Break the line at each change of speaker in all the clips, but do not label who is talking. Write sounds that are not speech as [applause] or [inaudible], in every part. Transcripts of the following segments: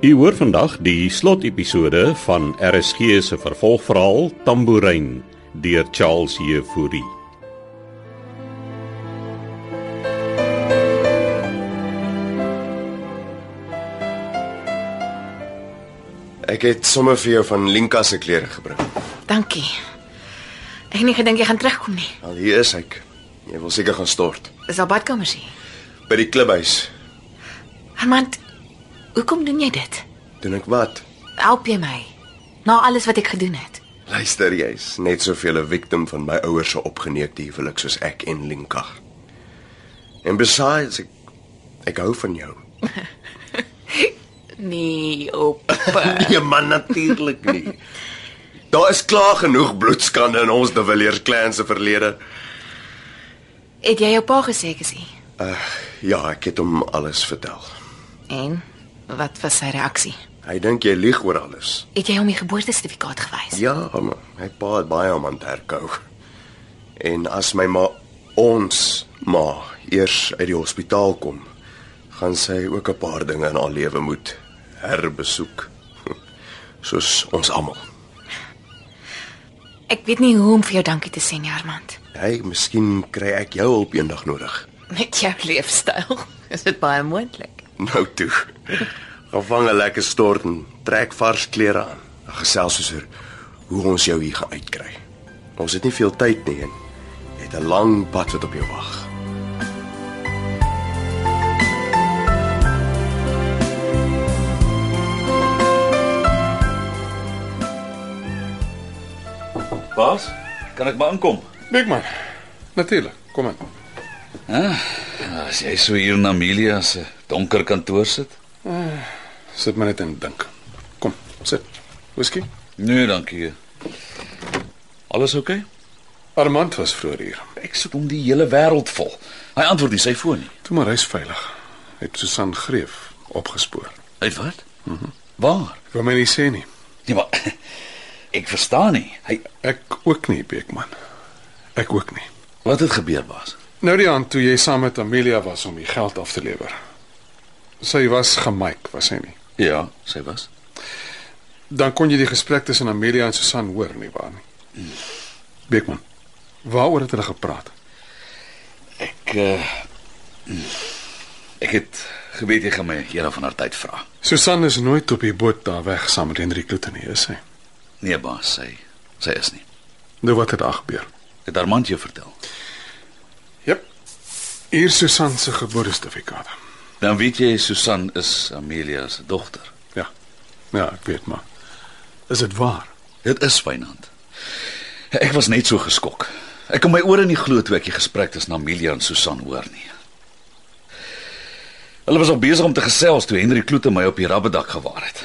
U hoor vandag die slotepisode van RSG se vervolgverhaal Tambourine deur Charles Jefouri.
Ek het sommer vir jou van Linka se klere gebring.
Dankie. Ek het nie gedink jy gaan terugkom nie.
Al hier is ek. Jy wil seker gaan stort
Dis al badkamers hier.
by die klubhuis.
Armand, hoekom doen jy dit?
Doen ek wat?
Help jy my? Na alles wat ek gedoen het.
Luister, jy's net soveel 'n victim van my ouers se opgeneekte huwelik soos ek en Linka. En besides ek ek hou van jou.
Nee, op.
Nee man, natuurlik nie. Daar is klaar genoeg bloedskande in ons De Villiers clan se verlede.
Het jy jou pa gesê ek is hier?
Ja, ek het hom alles vertel.
En wat was sy reaksie?
Hy dink jy lieg oor alles.
Het jy hom die geboortesertifikaat gewys?
Ja, maar my pa het baie om aan te herkou. En as my ma ons ma eers uit die hospitaal kom, gaan sy ook 'n paar dinge in haar lewe moet herbesoek. [laughs] Soos ons almal.
Ek weet nie hoe om vir jou dankie te sê nie, Armand.
Hey, miskien kry ek jou hulp eendag nodig. [laughs]
Met jou leefstyl is dit baie moontlik.
Nou toe. [laughs] Gevange lekker stort en trek vars klere aan. Dan Gesels ons oor hoe ons jou hier gaan uitkry. Ons het nie veel tyd nie en jy het 'n lang pad wat op jou wag.
Baas, kan ek maar inkom?
Beekman. Natuurlik. Kom in.
As jy so hier na Amelia se donker kantoor sit?
Sit maar net en dink. Kom, sit. Whisky?
Nee, dankie. Alles oukei? Okay?
Armand was vroeër hier.
Ek soek hom die hele wêreld vol. Hy antwoord nie sy foon nie.
Toe maar hy's veilig. Hy het Susan Greef opgespoor.
Uit wat? Mhm. Waar?
Ek wil my nie sê nie.
Nee, maar [laughs] ek verstaan nie. Hy
Ek ook nie, Beekman. Ek ook nie.
wat het gebeur, baas?
Nou die aand toe jy saam met Amelia was om die geld af te lewer. Sy was gemaak, was sy nie?
Ja, sy was.
Dan kon jy die gesprek tussen Amelia en Susan hoor nie waar nie. Beekman. Waaroor het hulle gepraat?
Ek uh, ek het geweet jy gaan my eendag van haar tyd vra.
Susan is nooit op die boot daar weg saam met Hendrik Kloete nie, is sy?
Nee, baas, sy sy is nie.
Nou wat het daar gebeur?
Het Armand jou vertel?
Jep. Hier Susan se geboortesertifikaat.
Dan weet jy Susan is Amelia se dogter.
Ja. Ja, ek weet maar. Is dit waar?
Dit is Wynand. Ek was net so geskok. Ek kon my ore nie glo toe ek die gesprek tussen Amelia en Susan hoor nie. Hulle was al besig om te gesels toe Henry Kloete my op die rabbedak gewaar het.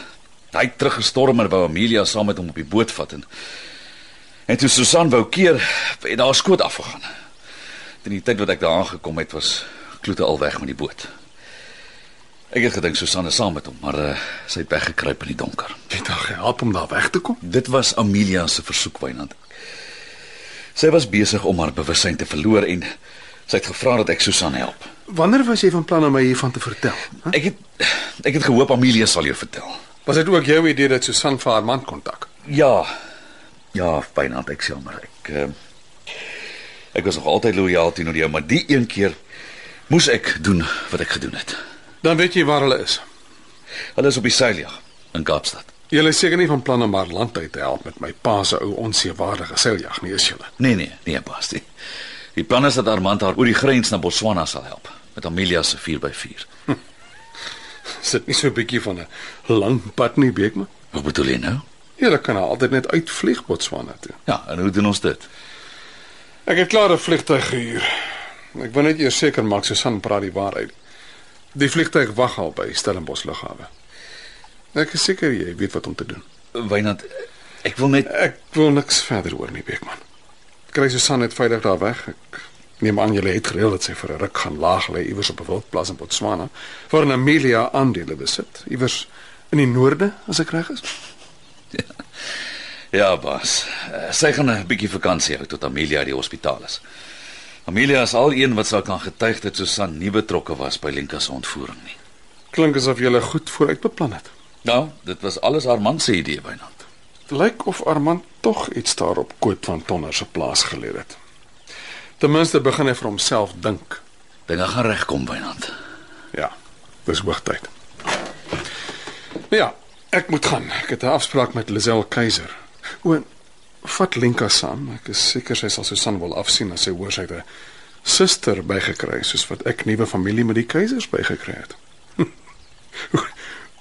Hy het teruggestorm en wou Amelia saam met hom op die boot vat en en toe Susan wou keer, het daar skoot afgegaan. Teen die tyd wat ek daar aangekom het, was Kloete al weg met die boot. Ek het gedink Susan is saam met hom, maar uh, sy het weggekruip in die donker.
Dit het gehelp om daar weg te kom.
Dit was Amelia se versoek Wynand. Sy was besig om haar bewussyn te verloor en sy het gevra dat ek Susan help.
Wanneer was jy van plan om my hiervan te vertel?
Ek het ek het gehoop Amelia sal jou vertel.
Was dit ook jou idee dat Susan vir haar man kontak?
Ja. Ja, Wynand, ek sê maar ek eh, ek was nog altyd lojaal teenoor jou, maar die een keer moes ek doen wat ek gedoen het.
Dan weet jy waar hulle is.
Hulle is op die seiljag in Kaapstad.
Julle is seker nie van plan om haar land uit te help met my pa se ou onseewaardige seiljag nie, is julle?
Nee nee, nee, pas nie. Die plan is dat Armand haar oor die grens na Botswana sal help met Amelia se 4x4.
Is dit nie so 'n bietjie van 'n lang pad nie, Beekman?
Wat bedoel jy nou?
Julle kan haar altyd net uitvlieg Botswana toe.
Ja, en hoe doen ons dit?
Ek het klaar 'n vliegtyg gehuur. Ek wil net eers seker maak Susan praat die waarheid. Die vliegtyg wag al by Stellenbosch lughawe. Ek is seker jy weet wat om te doen.
Wynand, ek wil net
Ek wil niks verder hoor nie, Beekman. Kry Susan net veilig daar weg. Ek neem aan jy het gereël dat sy vir 'n ruk gaan laag lê iewers op 'n wildplaas in Botswana, waar 'n Amelia aandele besit, iewers in die noorde as ek reg is.
Ja, baas. eh, Sy gaan 'n bietjie vakansie hou tot Amelia uit die hospitaal is. Amelia is al een wat sou kan getuig dat Susan nie betrokke was by Lenka se ontvoering nie.
Klink asof jy goed vooruit beplan het.
Nou, dit was alles Armand se idee bynaand.
Lyk of Armand tog iets daarop koop van Tonner se plaas geleer het. Ten minste begin hy vir homself dink.
Dinge gaan regkom bynaand.
Ja, dis hoogtyd. Nou ja, ek moet gaan. Ek het 'n afspraak met Lisel Keiser. O, en vat Lenka saam. Ek is seker sy sal Susan wil afsien as sy hoor sy het 'n suster bygekry soos wat ek nuwe familie met die Keisers bygekry het. [laughs] hoe,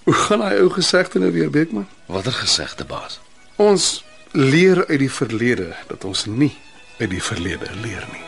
hoe gaan daai ou gesegde nou weer Beekman?
Watter gesegde baas?
Ons leer uit die verlede dat ons nie uit die verlede leer nie.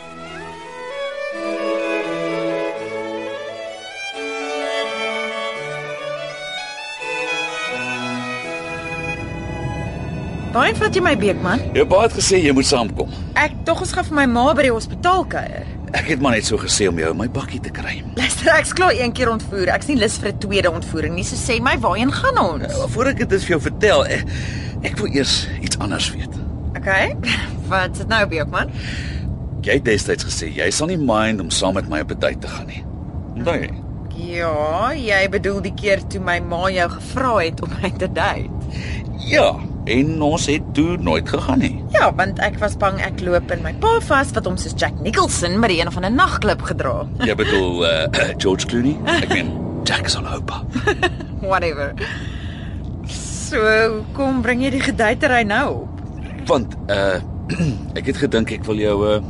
Waarheen vat jy my Beekman?
Jou pa het gesê jy moet saamkom.
Ek tog ons gaan vir my ma by die hospitaal kuier.
Ek het maar net so gesê om jou in my bakkie te kry.
Luister, ek's klaar een keer ontvoer. Ek's nie lus vir 'n tweede ontvoering nie. So sê my, waarheen gaan ons?
Voor ek dit vir jou vertel, ek, ek wil eers iets anders weet.
Okay. [laughs] Wat is dit nou Beekman?
Jy het destyds gesê jy sal nie mind om saam met my op 'n date te gaan nie. Onthou jy?
Ja, jy bedoel die keer toe my ma jou gevra het om my te date.
Ja, en ons het toe nooit gegaan nie.
Ja, want ek was bang ek loop in my pa vas wat hom soos Jack Nicholson by die een of ander nagklub gedra.
Jy bedoel eh [clears throat] George Clooney? Ek meen Jackson Hopper.
Whatever. So, kom bring jy die geduitery nou op.
Want eh [clears throat] ek het gedink ek wil jou eh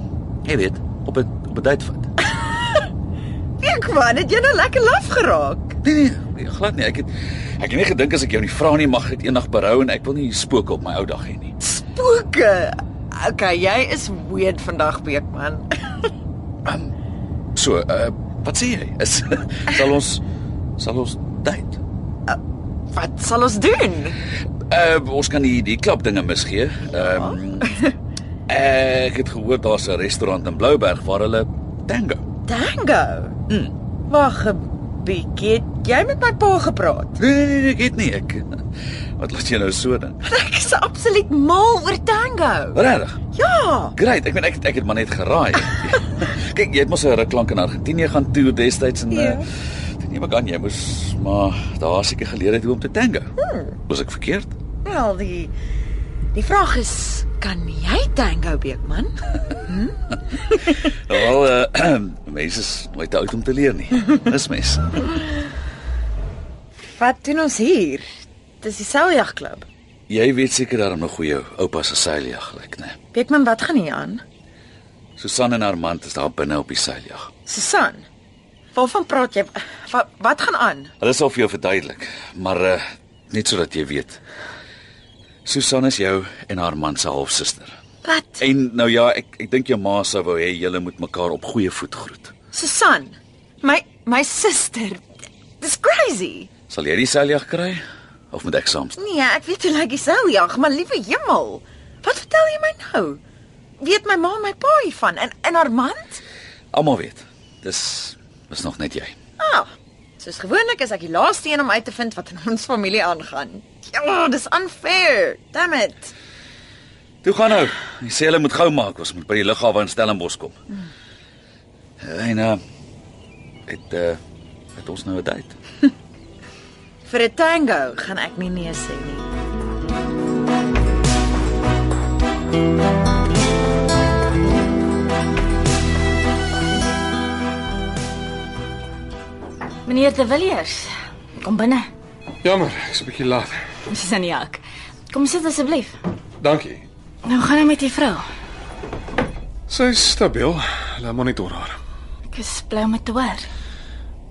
jy weet, op 'n op 'n date vat.
Beekman, het jy nou lekker laf geraak?
Nee nee, nee, glad nie. Ek het ek het nie gedink as ek jou nie vra nie mag ek dit eendag berou en ek wil nie spooke op my ou dag hê nie.
Spooke. Okay, jy is weird vandag, Beekman.
Ehm, So, uh wat sê jy? Is [laughs] sal ons sal ons date?
Wat sal ons doen?
Uh ons kan die die klap dinge misgee. Ehm um, [laughs] ek het gehoor daar's 'n restaurant in Blouberg waar hulle tango.
Tango.
Mm.
Wag 'n bietjie. het Jy met my pa gepraat.
Nee nee nee, nee ek weet nie ek. Wat laat jy nou so dan?
[laughs] Ek is absoluut mal oor tango.
Regtig?
Ja.
Great. Ek weet ek het, ek het maar net geraai. Kyk, jy het mos 'n ruk lank in Argentinië gaan toer destyds en
Ja.
uh, toe neem ek aan jy moes maar daar seker geleer het hoe om te tango. Hmm. Was ek verkeerd?
Wel, die die vraag is, kan jy tango, Beekman?
Wel, uh, [clears throat] mense is nooit te oud om te leer nie. Dis mens.
Wat doen ons hier? Dis die seiljagklub.
Jy weet seker daarom nog hoe jou oupa se seiljag lyk, né?
Beekman, wat gaan hier aan?
Susan en Armand is daar binne op die seiljag.
Susan. Waarvan praat jy? Wat, wat gaan aan?
Hulle sal vir jou verduidelik, maar uh, net sodat jy weet. Susan is jou en haar man se halfsuster.
Wat?
En nou ja, ek ek dink jou ma sou wou hê julle moet mekaar op goeie voet groet.
Susan, my my suster. Dis crazy.
Sal jy die seiljag kry of moet ek saam?
Nee, ek weet hoe lyk die seljag, maar liewe hemel. Wat vertel jy my nou? Weet my ma en my pa hiervan en en Armand?
Almal weet. Dis is nog net jy.
Ah. Soos gewoonlik is ek die laaste een om uit te vind wat in ons familie aangaan. Ja, dis unfair. Damn it.
Toe gaan nou. Jy sê hulle moet gou maak, ons moet by die lughawe in Stellenbosch kom. En uh het uh het ons nou 'n date.
Vir 'n tango gaan ek nie nee sê nie.
Meneer De Villiers, kom binne.
Jammer, ek's 'n bietjie laat.
Ons is aan die hak. Kom sit asseblief.
Dankie.
Nou gaan hy met die vrou.
Sy's stabiel. Hulle monitor haar.
Ek is bly om dit te hoor.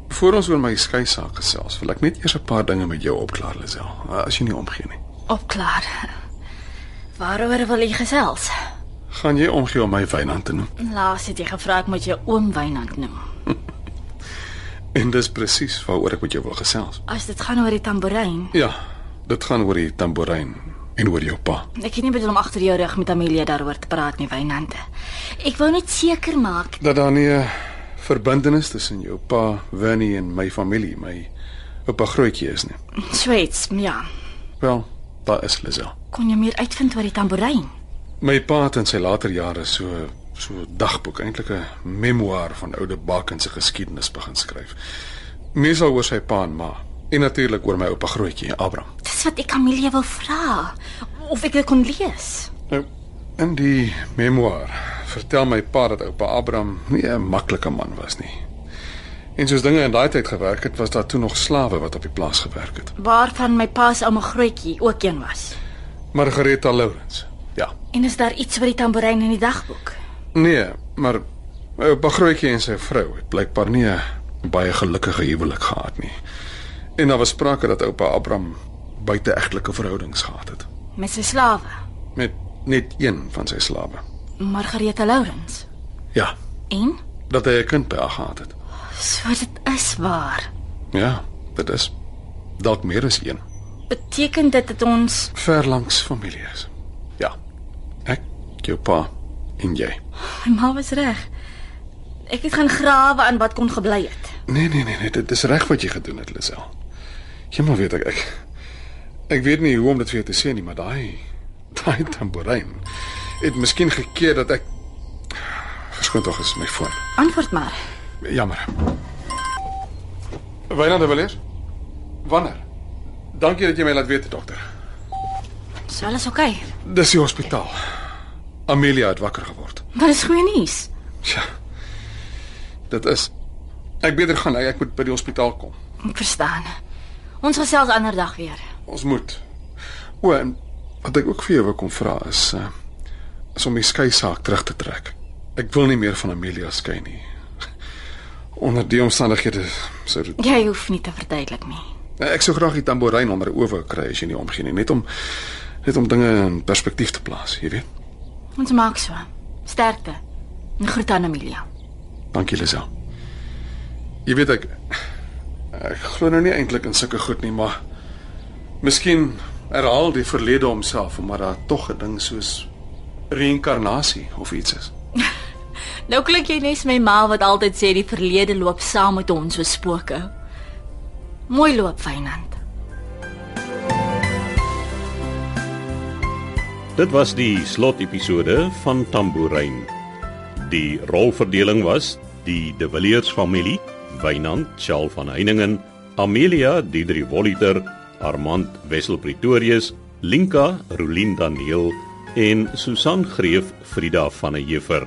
Voor ons oor my skei saak gesels, wil ek net eers 'n paar dinge met jou opklaar, Lisel, as jy nie omgee nie.
Opklaar. Waaroor wil jy gesels?
Gaan jy omgee om my Wynand te noem?
Laas het jy gevra ek moet jou oom Wynand noem.
En dis presies waaroor ek met jou wil gesels.
As dit gaan oor die tamboerijn.
Ja, dit gaan oor die tamboerijn en oor jou pa.
Ek het nie bedoel om agter jou rug met Amelia daaroor te praat nie, Wynand. Ek wou net seker maak
Dat daar nie 'n verbintenis tussen jou pa, Winnie en my familie, my oupa grootjie is nie.
Sweets, ja.
Wel, daar is Lisel.
Kon jy meer uitvind oor die tamboerijn?
My pa het in sy later jare so so 'n dagboek, eintlik 'n memoir van oude Bak en se geskiedenis begin skryf. Meesal oor sy pa en ma. En natuurlik oor my oupa grootjie, Abraham.
Dis wat ek Amelia wou vra of ek dit kon lees.
Nou, in die memoir vertel my pa dat oupa Abraham nie 'n maklike man was nie. En soos dinge in daai tyd gewerk het, was daar toe nog slawe wat op die plaas gewerk het.
Waarvan my pa se ouma grootjie ook een was.
Margareta Lawrence. Ja.
En is daar iets oor die tamboerijn in die dagboek?
Nee, maar oupa Grootjie en sy vrou het blykbaar nie 'n baie gelukkige huwelik gehad nie. En daar was sprake dat oupa Abraham buiteegtelike verhoudings gehad het
Met sy slawe,
met net een van sy slawe.
Margareta Lawrence.
Ja,
En
dat hy 'n kind by haar gehad het.
so dit is waar.
Ja, dit is dalk meer as een.
Beteken dit dat ons [laughs]
Ver langs familie is. Ja. Ek, jou pa en jy.
my ma was reg. Ek het gaan grawe aan wat kon gebly het.
Nee, nee, nee, nee, dit is reg wat jy gedoen het, Lisel. Hemel weet ek ek ek weet nie hoe om dit vir jou te sê nie, maar daai daai tamboerijn het miskien gekeer dat ek verskoon tog is my foon.
Antwoord maar.
Jammer. Wynand de Villiers? Wanneer? Dankie dat jy my laat weet, dokter.
Is alles oukei? Okay?
Dis die hospitaal. Amelia het wakker geword.
Maar dis goeie nuus.
Ja. Dit is Ek beter gaan, ek moet by die hospitaal kom.
Ek verstaan. Ons gesels ander dag weer.
Ons moet. O, en wat ek ook vir jou wou kom vra is uh is om die skei saak terug te trek. Ek wil nie meer van Amelia skei nie. Onder die omstandighede sou dit Eh,
Jy hoef nie te verduidelik nie.
Ek sou graag die tamboerijn onder oë wou kry as jy nie omgee nie, net om net om dinge in perspektief te plaas, jy weet.
Ons maak so. Sterkte. En groet aan Amelia.
Dankie, Lisel. Jy weet ek ek glo nou nie eintlik in sulke goed nie, maar miskien herhaal die verlede homself omdat daar tog 'n ding soos reïnkarnasie of iets is.
Nou klink jy net my ma wat altyd sê die verlede loop saam met ons soos spooke. Mooi loop, Fynand.
Dit was die slotepisode van Tambourine. Die rolverdeling was die De Villiers familie, Wynand Charl van Heiningen, Amelia Didri Wolliter, Armand Wessel Pretorius, Linka Rolien Daniel en Susan Greef Frida van der Heever.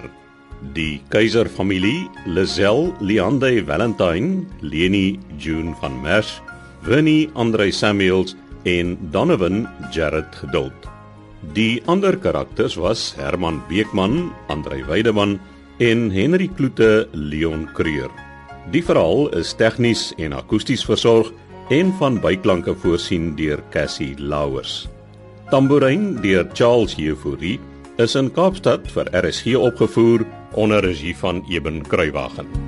Die Keiser familie, Lisel Liande Valentine, Leni June van Merwe, Winnie Andre Samuels en Donovan Jared Geduld. Die ander karakters was Herman Beekman, Andrei Weideman en Henry Kloete Leon Creur. Die verhaal is tegnies en akoesties versorg en van byklanke voorsien deur Cassie Louwers. Tambourin deur Charles Jefouri is in Kaapstad vir RSG opgevoer onder regie van Eben Kruiwagen.